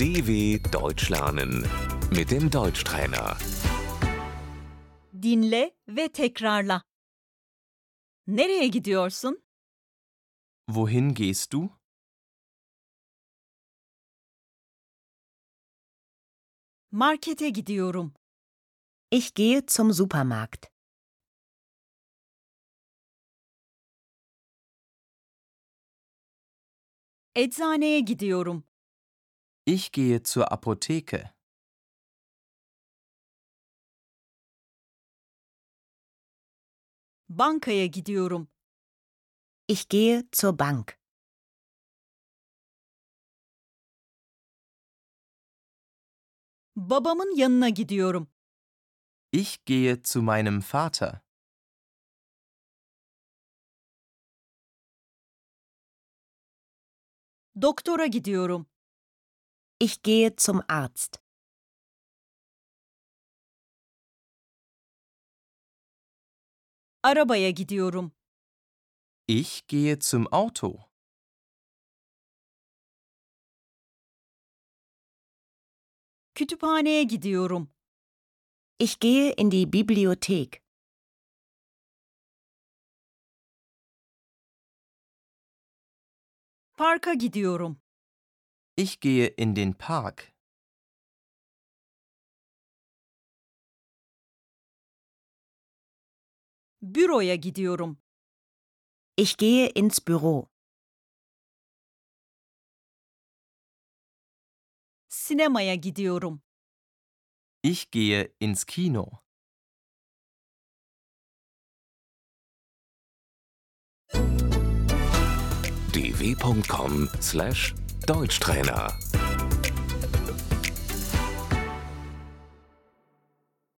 DW Deutsch lernen mit dem Deutschtrainer. Dinle ve tekrarla. Nereye gidiyorsun? Wohin gehst du? Markete gidiyorum. Ich gehe zum Supermarkt. Eczaneye gidiyorum. Ich gehe zur Apotheke. Bankaya gidiyorum. Ich gehe zur Bank. Babamın yanına gidiyorum. Ich gehe zu meinem Vater. Doktora gidiyorum. Ich gehe zum Arzt. Arabaya gidiyorum. Ich gehe zum Auto. Kütüphaneye gidiyorum. Ich gehe in die Bibliothek. Parka gidiyorum. Ich gehe in den Park. Büroya gidiyorum. Ich gehe ins Büro. Sinemaya gidiyorum. Ich gehe ins Kino. dw.com/deutschtrainer